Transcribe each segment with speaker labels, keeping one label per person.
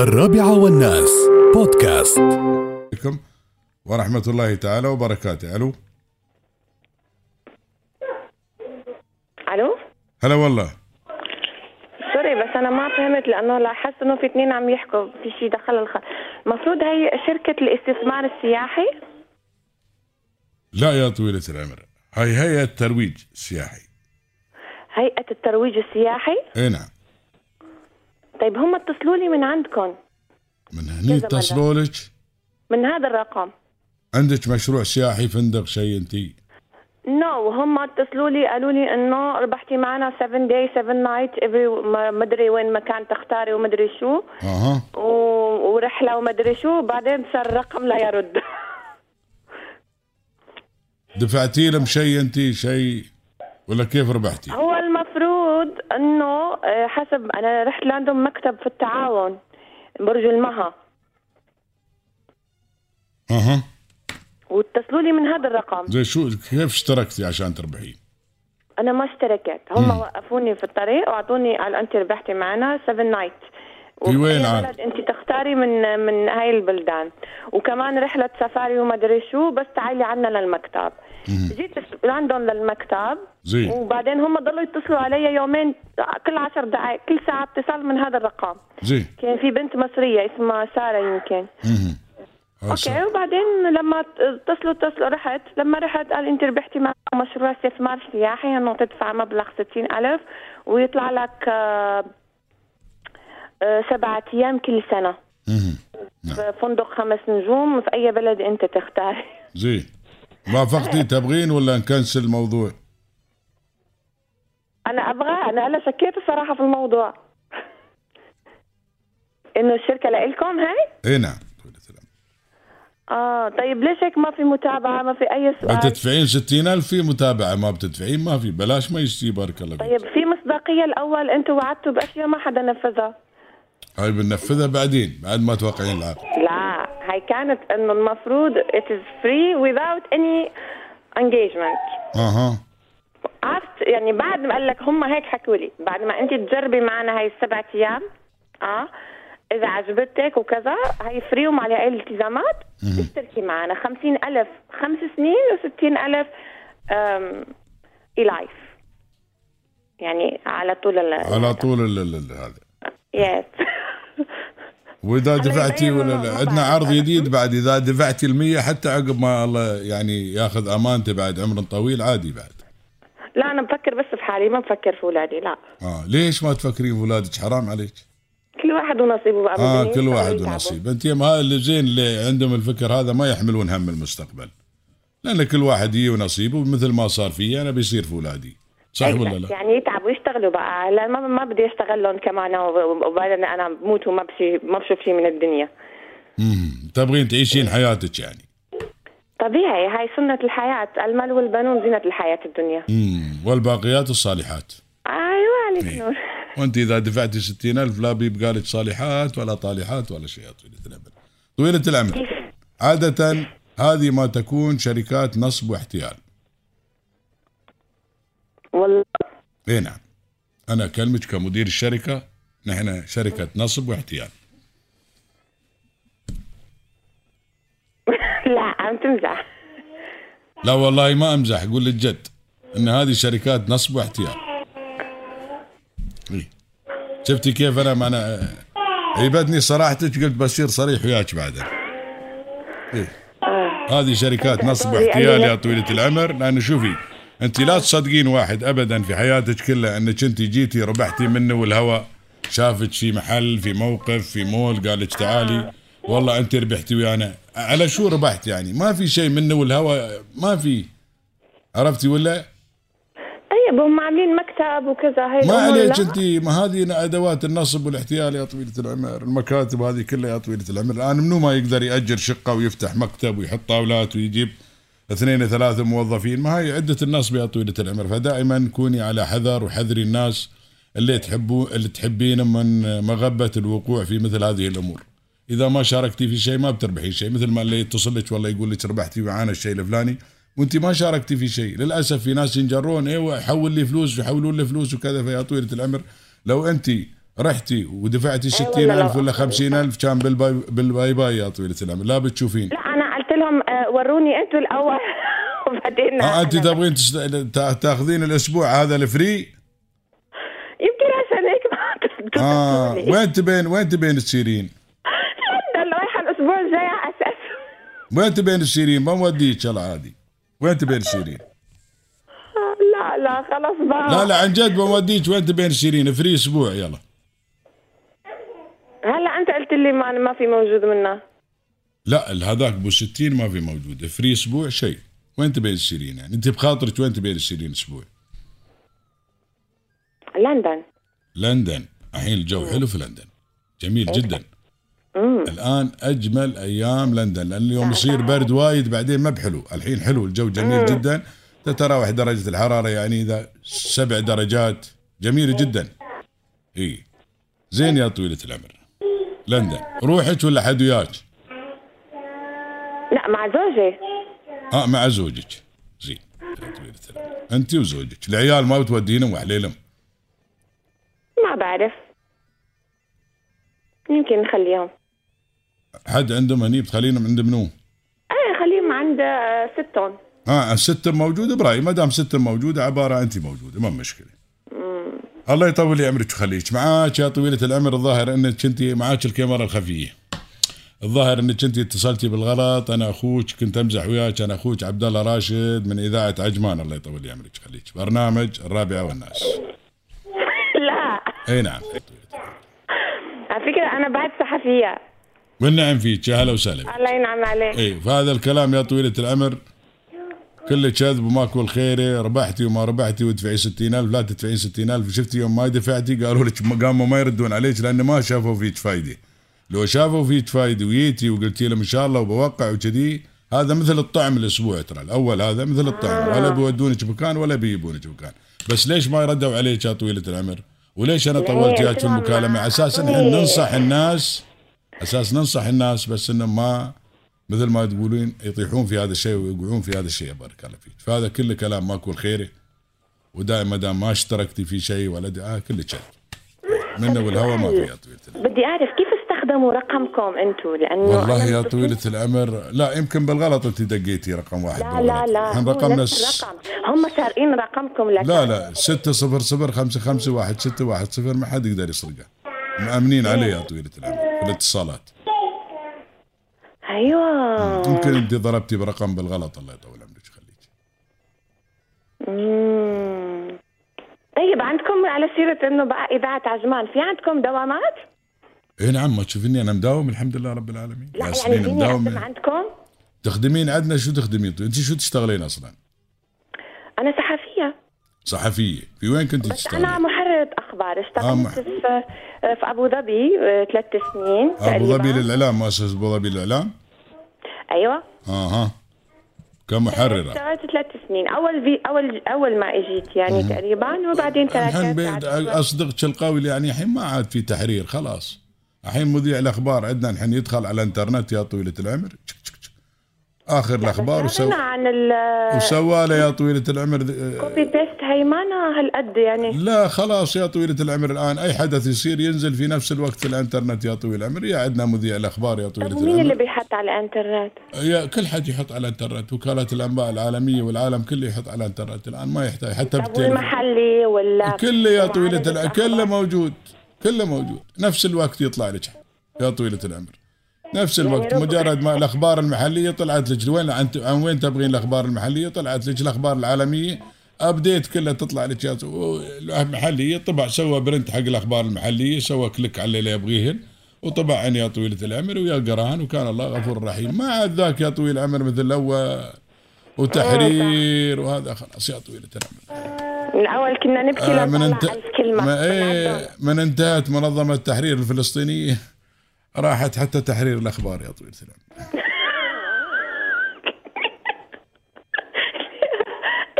Speaker 1: الرابعة والناس بودكاست
Speaker 2: عليكم ورحمة الله تعالى وبركاته ألو
Speaker 3: الو
Speaker 2: هلا والله
Speaker 3: سوري بس انا ما فهمت لانه لاحظت انه في اثنين عم يحكوا في شيء دخل الخ... المفروض هي شركه الاستثمار السياحي
Speaker 2: لا يا طويلة العمر هاي هيئة ترويج سياحي
Speaker 3: هيئه الترويج السياحي
Speaker 2: اي نعم
Speaker 3: طيب هم اتصلوا لي من عندكم
Speaker 2: من هني
Speaker 3: كذا مرة.
Speaker 2: اتصلوا لك
Speaker 3: من هذا الرقم
Speaker 2: عندك مشروع سياحي فندق شيء انتي
Speaker 3: نو no, هم اتصلوا لي قالوا لي انه ربحتي معنا 7 داي 7 نايت افري مدري وين مكان تختاري ومدري شو
Speaker 2: اها
Speaker 3: و... ورحله ومدري شو وبعدين صار الرقم لا يرد
Speaker 2: دفعتي لهم شيء انتي شيء ولا كيف ربحتي؟
Speaker 3: هو المفروض انه آه، حسب انا رحت لعندهم مكتب في التعاون برج المها
Speaker 2: اها
Speaker 3: واتصلوا لي من هذا الرقم
Speaker 2: زي شو كيف اشتركتي عشان تربحين؟
Speaker 3: انا ما اشتركت هم وقفوني في الطريق واعطوني قال انت ربحتي معنا 7 نايت
Speaker 2: في وين عاد؟
Speaker 3: انت تختاري من من هاي البلدان وكمان رحله سفاري وما ادري شو بس تعالي عنا للمكتب جيت لندن للمكتب
Speaker 2: زين.
Speaker 3: وبعدين هم ضلوا يتصلوا علي يومين كل عشر دقائق كل ساعه اتصال من هذا الرقم
Speaker 2: زين
Speaker 3: كان في بنت مصريه اسمها ساره يمكن
Speaker 2: اها
Speaker 3: اوكي وبعدين لما اتصلوا اتصلوا رحت لما رحت قال انت ربحتي مع مشروع استثمار سياحي انه تدفع مبلغ ستين الف ويطلع لك آه، آه، سبعة ايام كل سنة
Speaker 2: اها
Speaker 3: في فندق خمس نجوم في اي بلد انت تختار
Speaker 2: زين وافقتي تبغين ولا نكنسل الموضوع؟
Speaker 3: انا ابغى انا هلا شكيت الصراحة في الموضوع انه الشركة لإلكم هاي؟
Speaker 2: اي نعم طويلة العمر
Speaker 3: اه طيب ليش هيك ما في متابعة ما في اي سؤال؟
Speaker 2: بتدفعين 60000 في متابعه ما بتدفعين ما في بلاش ما يشتي بارك الله فيك
Speaker 3: طيب في مصداقية الأول أنتوا وعدتوا بأشياء ما حدا نفذها
Speaker 2: هاي بننفذها بعدين بعد ما توقعين العقد
Speaker 3: لا هي كانت انه المفروض it is free without any engagement
Speaker 2: اها
Speaker 3: عرفت يعني بعد ما قال لك هم هيك حكوا لي بعد ما انت تجربي معنا هاي السبع ايام اه اذا عجبتك وكذا هي فري وما عليها اي التزامات اشتركي معنا خمسين الف خمس سنين وستين الف اي لايف يعني على طول ال
Speaker 2: على طول ال- ال- ال- هذا
Speaker 3: يس
Speaker 2: واذا دفعتي
Speaker 3: يبين
Speaker 2: ولا
Speaker 3: لنا
Speaker 2: لا،
Speaker 3: ما
Speaker 2: عندنا
Speaker 3: بعرف.
Speaker 2: عرض جديد بعد اذا دفعتي المية حتى عقب ما الله يعني ياخذ امانته بعد عمر طويل عادي بعد
Speaker 3: لا انا بفكر بس في حالي ما بفكر في اولادي لا
Speaker 2: اه ليش ما تفكرين في اولادك حرام عليك
Speaker 3: كل واحد ونصيبه بقى
Speaker 2: اه
Speaker 3: بالدنيا
Speaker 2: كل واحد
Speaker 3: يتعبوا.
Speaker 2: ونصيب انت ما اللي زين اللي عندهم الفكر هذا ما يحملون هم المستقبل لان كل واحد يجي ونصيبه مثل ما صار فيي انا بيصير في اولادي صح
Speaker 3: أي
Speaker 2: ولا
Speaker 3: بس
Speaker 2: لا؟
Speaker 3: يعني يتعبوا يشتغلوا بقى لا ما, ما بدي اشتغل لهم كمان و- وبعدين انا بموت وما بشي ما بشوف شيء من الدنيا
Speaker 2: مم. تبغين تعيشين حياتك يعني
Speaker 3: طبيعي هاي سنة الحياة المال والبنون زينة الحياة الدنيا
Speaker 2: مم. والباقيات الصالحات
Speaker 3: ايوه
Speaker 2: إيه.
Speaker 3: عليك نور
Speaker 2: وانت اذا دفعتي 60000 لا بيبقى لك صالحات ولا طالحات ولا شيء يا طويله العمر طويله العمر عاده هذه ما تكون شركات نصب واحتيال
Speaker 3: والله
Speaker 2: اي نعم انا اكلمك كمدير الشركه نحن شركه نصب واحتيال
Speaker 3: لا عم تمزح
Speaker 2: لا والله ما امزح اقول للجد ان هذه شركات نصب واحتيال إيه. شفتي كيف انا ما انا عيبتني صراحتك قلت بصير صريح وياك بعدين إيه. هذه شركات نصب واحتيال يا طويله العمر لان شوفي انت لا تصدقين واحد ابدا في حياتك كلها انك انت جيتي ربحتي منه والهواء شافك في محل في موقف في مول قال لك تعالي والله انت ربحتي ويانا على شو ربحت يعني ما في شيء منه والهواء ما في عرفتي ولا؟
Speaker 3: طيب هم عاملين مكتب وكذا هي
Speaker 2: ما
Speaker 3: الأمور،
Speaker 2: عليك
Speaker 3: لا.
Speaker 2: انت ما هذه ادوات النصب والاحتيال يا طويله العمر، المكاتب هذه كلها يا طويله العمر، الان منو ما يقدر ياجر شقه ويفتح مكتب ويحط طاولات ويجيب اثنين ثلاثه موظفين، ما هي عده النصب يا طويله العمر، فدائما كوني على حذر وحذري الناس اللي تحبوا اللي تحبين من مغبه الوقوع في مثل هذه الامور. اذا ما شاركتي في شيء ما بتربحي شيء، مثل ما اللي يتصل لك والله يقول لك ربحتي معانا الشيء الفلاني، وانت ما شاركتي في إيوه، شيء للاسف في ناس ينجرون ايوه حول لي فلوس ويحولون لي فلوس وكذا فيا طويله العمر لو انت رحتي ودفعتي
Speaker 3: والله
Speaker 2: 60 ألف
Speaker 3: لو
Speaker 2: ولا
Speaker 3: أخذ
Speaker 2: 50 ألف كان بالباي, بالباي باي يا طويلة العمر لا بتشوفين
Speaker 3: لا انا قلت لهم آه، وروني انتوا الاول وبعدين
Speaker 2: اه انت
Speaker 3: أنا-
Speaker 2: تبغين تس- تا- تاخذين الاسبوع هذا الفري
Speaker 3: يمكن عشان هيك ما تفضلوا
Speaker 2: اه
Speaker 3: تقولي.
Speaker 2: وين تبين وين تبين تسيرين
Speaker 3: لندن رايحه الاسبوع الجاي على اساس
Speaker 2: وين تبين تسيرين ما نوديك العادي وين تبين تسيرين
Speaker 3: آه، لا لا خلاص بقى
Speaker 2: لا لا عن جد ما نوديك وين تبين تسيرين فري اسبوع يلا
Speaker 3: هلا انت قلت لي ما ما في موجود منها
Speaker 2: لا هذاك ب 60 ما في موجود فري اسبوع شيء وين تبين تسيرين يعني انت بخاطرك وين تبين تسيرين اسبوع
Speaker 3: لندن
Speaker 2: لندن الحين الجو حلو في لندن جميل جدا الان اجمل ايام لندن لان اليوم يصير برد وايد بعدين ما بحلو الحين حلو الجو جميل جدا تتراوح درجه الحراره يعني اذا سبع درجات جميل جدا اي زين يا طويله العمر لندن روحك ولا حد وياك
Speaker 3: لا مع زوجي
Speaker 2: اه مع زوجك زين يا طويلة العمر. انت وزوجك العيال ما بتودينهم وحليلهم
Speaker 3: ما بعرف يمكن نخليهم
Speaker 2: حد عندهم هني بتخلينهم عند منو؟
Speaker 3: ايه خليهم عند آه، ستون
Speaker 2: ها الستة موجودة برايي ما دام ستة موجودة عبارة أنت موجودة ما مشكلة الله يطول لي عمرك ويخليك معاك يا طويلة العمر الظاهر أنك أنت معاك الكاميرا الخفية الظاهر أنك أنت اتصلتي بالغلط أنا أخوك كنت أمزح وياك أنا أخوك عبد الله راشد من إذاعة عجمان الله يطول لي عمرك ويخليك برنامج الرابعة والناس
Speaker 3: لا
Speaker 2: أي نعم
Speaker 3: على فكره انا بعد صحفيه
Speaker 2: والنعم فيك يا هلا وسهلا فيك.
Speaker 3: الله ينعم عليك
Speaker 2: اي إيه، فهذا الكلام يا طويلة العمر كله كذب وماكو الخير ربحتي وما ربحتي ودفعي 60000 لا تدفعين 60000 وشفتي يوم ما دفعتي قالوا لك ما- قاموا ما يردون عليك لان ما شافوا فيك فايده لو شافوا فيك فايده وجيتي وقلتي لهم ان شاء الله وبوقع وكذي هذا مثل الطعم الاسبوع ترى الاول هذا مثل الطعم ولا بيودونك مكان ولا بيجيبونك مكان بس ليش ما ردوا عليك يا طويله العمر؟ وليش انا طولت وياك في
Speaker 3: طبعاً ما
Speaker 2: المكالمه على اساس ان احنا
Speaker 3: أعطوني.
Speaker 2: ننصح الناس اساس ننصح الناس بس انه ما مثل ما تقولين يطيحون في هذا الشيء ويوقعون في هذا الشيء بارك الله فيك فهذا كله كلام ماكو خيره ودائما دام ما اشتركتي في شيء ولا دعاء كله كذب منه والهوى ما في يا طويله العمر
Speaker 3: بدي اعرف كيف استخدموا رقمكم انتم لانه
Speaker 2: والله
Speaker 3: أنا
Speaker 2: يا
Speaker 3: بشوف-
Speaker 2: طويله العمر لا يمكن بالغلط انت دقيتي رقم واحد
Speaker 3: لا لا
Speaker 2: بالغلط.
Speaker 3: لا
Speaker 2: إحنا
Speaker 3: هو
Speaker 2: رقمنا
Speaker 3: نفس
Speaker 2: س-
Speaker 3: الرقم هم سارقين رقمكم لك
Speaker 2: لا لا 600551610 ما حد يقدر يسرقه مأمنين عليه يا طويله العمر في الاتصالات
Speaker 3: ايوه
Speaker 2: يمكن انت ضربتي برقم بالغلط الله يطول عمرك خليك
Speaker 3: مم. طيب عندكم على سيرة انه بقى اذاعة عجمان في عندكم دوامات؟
Speaker 2: اي نعم ما تشوفيني انا مداوم الحمد لله رب العالمين
Speaker 3: لا يعني
Speaker 2: ياسمين
Speaker 3: فيني اقدم
Speaker 2: مداومه
Speaker 3: عندكم؟
Speaker 2: تخدمين عندنا شو تخدمين انت شو تشتغلين اصلا
Speaker 3: انا صحفية
Speaker 2: صحفية في وين كنت
Speaker 3: بس انا
Speaker 2: تشتغلين
Speaker 3: محررة اخبار
Speaker 2: آه،
Speaker 3: اشتغلت
Speaker 2: مح-
Speaker 3: في في ابو ظبي آه، ثلاث سنين
Speaker 2: ابو
Speaker 3: تقريباً.
Speaker 2: آه، ظبي للاعلام مؤسسة ابو ظبي للاعلام
Speaker 3: ايوه
Speaker 2: اها كمحررة
Speaker 3: اشتغلت ثلاث سنين اول في اول اول ما اجيت يعني تقريبا وبعدين
Speaker 2: الحين
Speaker 3: تركت
Speaker 2: بيد- اصدقك القول يعني الحين ما عاد في تحرير خلاص الحين مذيع الاخبار عندنا الحين يدخل على الانترنت يا طويلة العمر تشك تشك تشك. اخر الاخبار وسوى
Speaker 3: غنى عن ال
Speaker 2: وسوى له يا طويلة العمر ذ-
Speaker 3: كوبي بيست هي مانا هالقد يعني
Speaker 2: لا خلاص يا طويلة العمر الآن أي حدث يصير ينزل في نفس الوقت في الإنترنت يا طويل العمر يا عندنا مذيع الأخبار يا طويلة
Speaker 3: مين اللي
Speaker 2: العمر
Speaker 3: بيحط على الانترنت؟
Speaker 2: يا كل حد يحط على الإنترنت وكالة الأنباء العالمية والعالم كله يحط على الإنترنت الآن ما يحتاج حتى
Speaker 3: طب
Speaker 2: بالتليفون
Speaker 3: والمحلي ولا
Speaker 2: كله يا طويلة
Speaker 3: معارضة
Speaker 2: العمر كله
Speaker 3: الأخبار؟
Speaker 2: موجود كله موجود نفس الوقت يطلع لك يا طويلة العمر نفس الوقت
Speaker 3: يعني ربما-
Speaker 2: مجرد ما الأخبار المحلية طلعت لك وين عن عن وين تبغين الأخبار المحلية طلعت لك الأخبار العالمية أبديت كله تطلع لك يا تو- المحلية طبع سوى برنت حق الأخبار المحلية سوى كليك على اللي يبغيهن وطبع عن يا طويلة العمر ويا قران وكان الله غفور رحيم ما عاد ذاك يا طويل العمر مثل الأول وتحرير وهذا خلاص يا طويلة العمر
Speaker 3: من اول كنا نبكي
Speaker 2: آه،
Speaker 3: لما
Speaker 2: من
Speaker 3: من
Speaker 2: انت...
Speaker 3: ألف
Speaker 2: ما
Speaker 3: كلمه من عندهم.
Speaker 2: ايه من انتهت منظمه التحرير الفلسطينيه راحت حتى تحرير الاخبار يا طويل العمر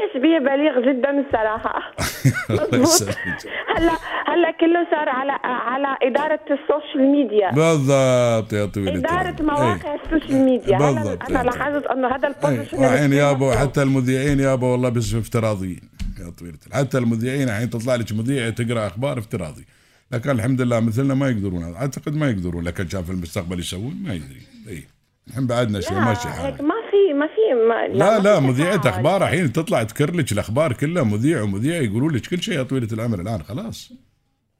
Speaker 3: تشبيه بليغ جدا الصراحه
Speaker 2: الله يسلمك
Speaker 3: هلا هلا كله صار على على اداره السوشيال ميديا
Speaker 2: بالضبط يا طويل إيه،
Speaker 3: إدارة
Speaker 2: العمر
Speaker 3: مواقع السوشيال ميديا هلا
Speaker 2: بالضبط. إيه.
Speaker 3: أنا لاحظت أنه هذا البوزيشن
Speaker 2: الحين يابا حتى المذيعين يابا والله بس افتراضيين يا طويل العمر حتى المذيعين الحين تطلع لك مذيع تقرا اخبار افتراضي لكن الحمد لله مثلنا ما يقدرون هذا اعتقد ما يقدرون لكن كان في المستقبل يسوون ما يدري اي الحين بعدنا شوي ماشي
Speaker 3: هيك
Speaker 2: حالنا
Speaker 3: ما في ما في ما
Speaker 2: لا
Speaker 3: ما
Speaker 2: لا
Speaker 3: في
Speaker 2: مذيعة
Speaker 3: تفاعل.
Speaker 2: اخبار الحين تطلع تكرلك الاخبار كلها مذيع ومذيع يقولوا لك كل شيء يا طويلة العمر الان خلاص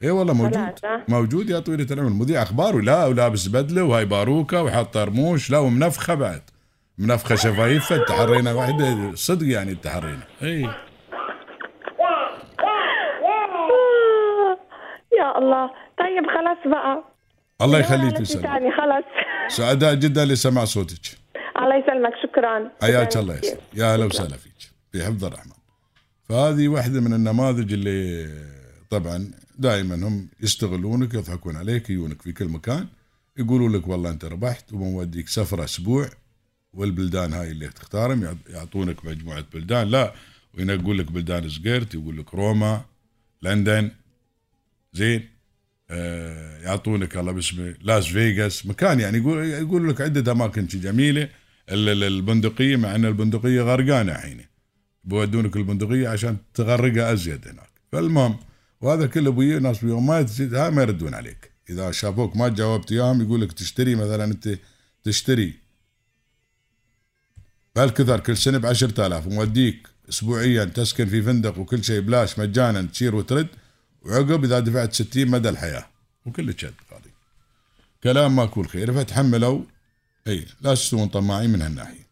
Speaker 2: اي والله موجود
Speaker 3: خلاص، ها؟
Speaker 2: موجود يا طويلة العمر مذيع اخبار ولا ولابس بدلة وهاي باروكة وحاط رموش لا ومنفخة بعد منفخة شفايفها تحرينا واحدة صدق يعني تحرينا اي
Speaker 3: إيه. آه، يا الله طيب خلاص بقى
Speaker 2: الله
Speaker 3: على
Speaker 2: يخليك
Speaker 3: شي
Speaker 2: تسلم
Speaker 3: تاني خلاص
Speaker 2: سعداء جدا لسماع صوتك
Speaker 3: الله يسلمك شكرا
Speaker 2: حياك
Speaker 3: شكراً
Speaker 2: الله يا
Speaker 3: كثير.
Speaker 2: سيدي يا هلا وسهلا فيك في حفظ الرحمن فهذه واحدة من النماذج اللي طبعا دائما هم يستغلونك يضحكون عليك يجونك في كل مكان يقولوا لك والله انت ربحت وبنوديك سفرة اسبوع والبلدان هاي اللي تختارهم يعط- يعطونك مجموعة بلدان لا وينقول لك بلدان صغيرت يقول لك روما لندن زين آه، يعطونك الله باسمه لاس فيغاس مكان يعني يقول يقول لك عده اماكن شي جميله ال- ال- البندقيه مع ان البندقيه غرقانه الحين بودونك البندقيه عشان تغرقها ازيد هناك فالمهم وهذا كله بيه ناس بيه ما تزيد هاي ما يردون عليك اذا شافوك ما جاوبت اياهم يقول لك تشتري مثلا انت تشتري بهالكثر كل سنه ب 10000 وموديك اسبوعيا تسكن في فندق وكل شيء بلاش مجانا تشير وترد وعقب اذا دفعت 60 مدى الحياه وكل كذب هذه كلام ماكو الخير فتحملوا اي لا تستوون طماعين من هالناحيه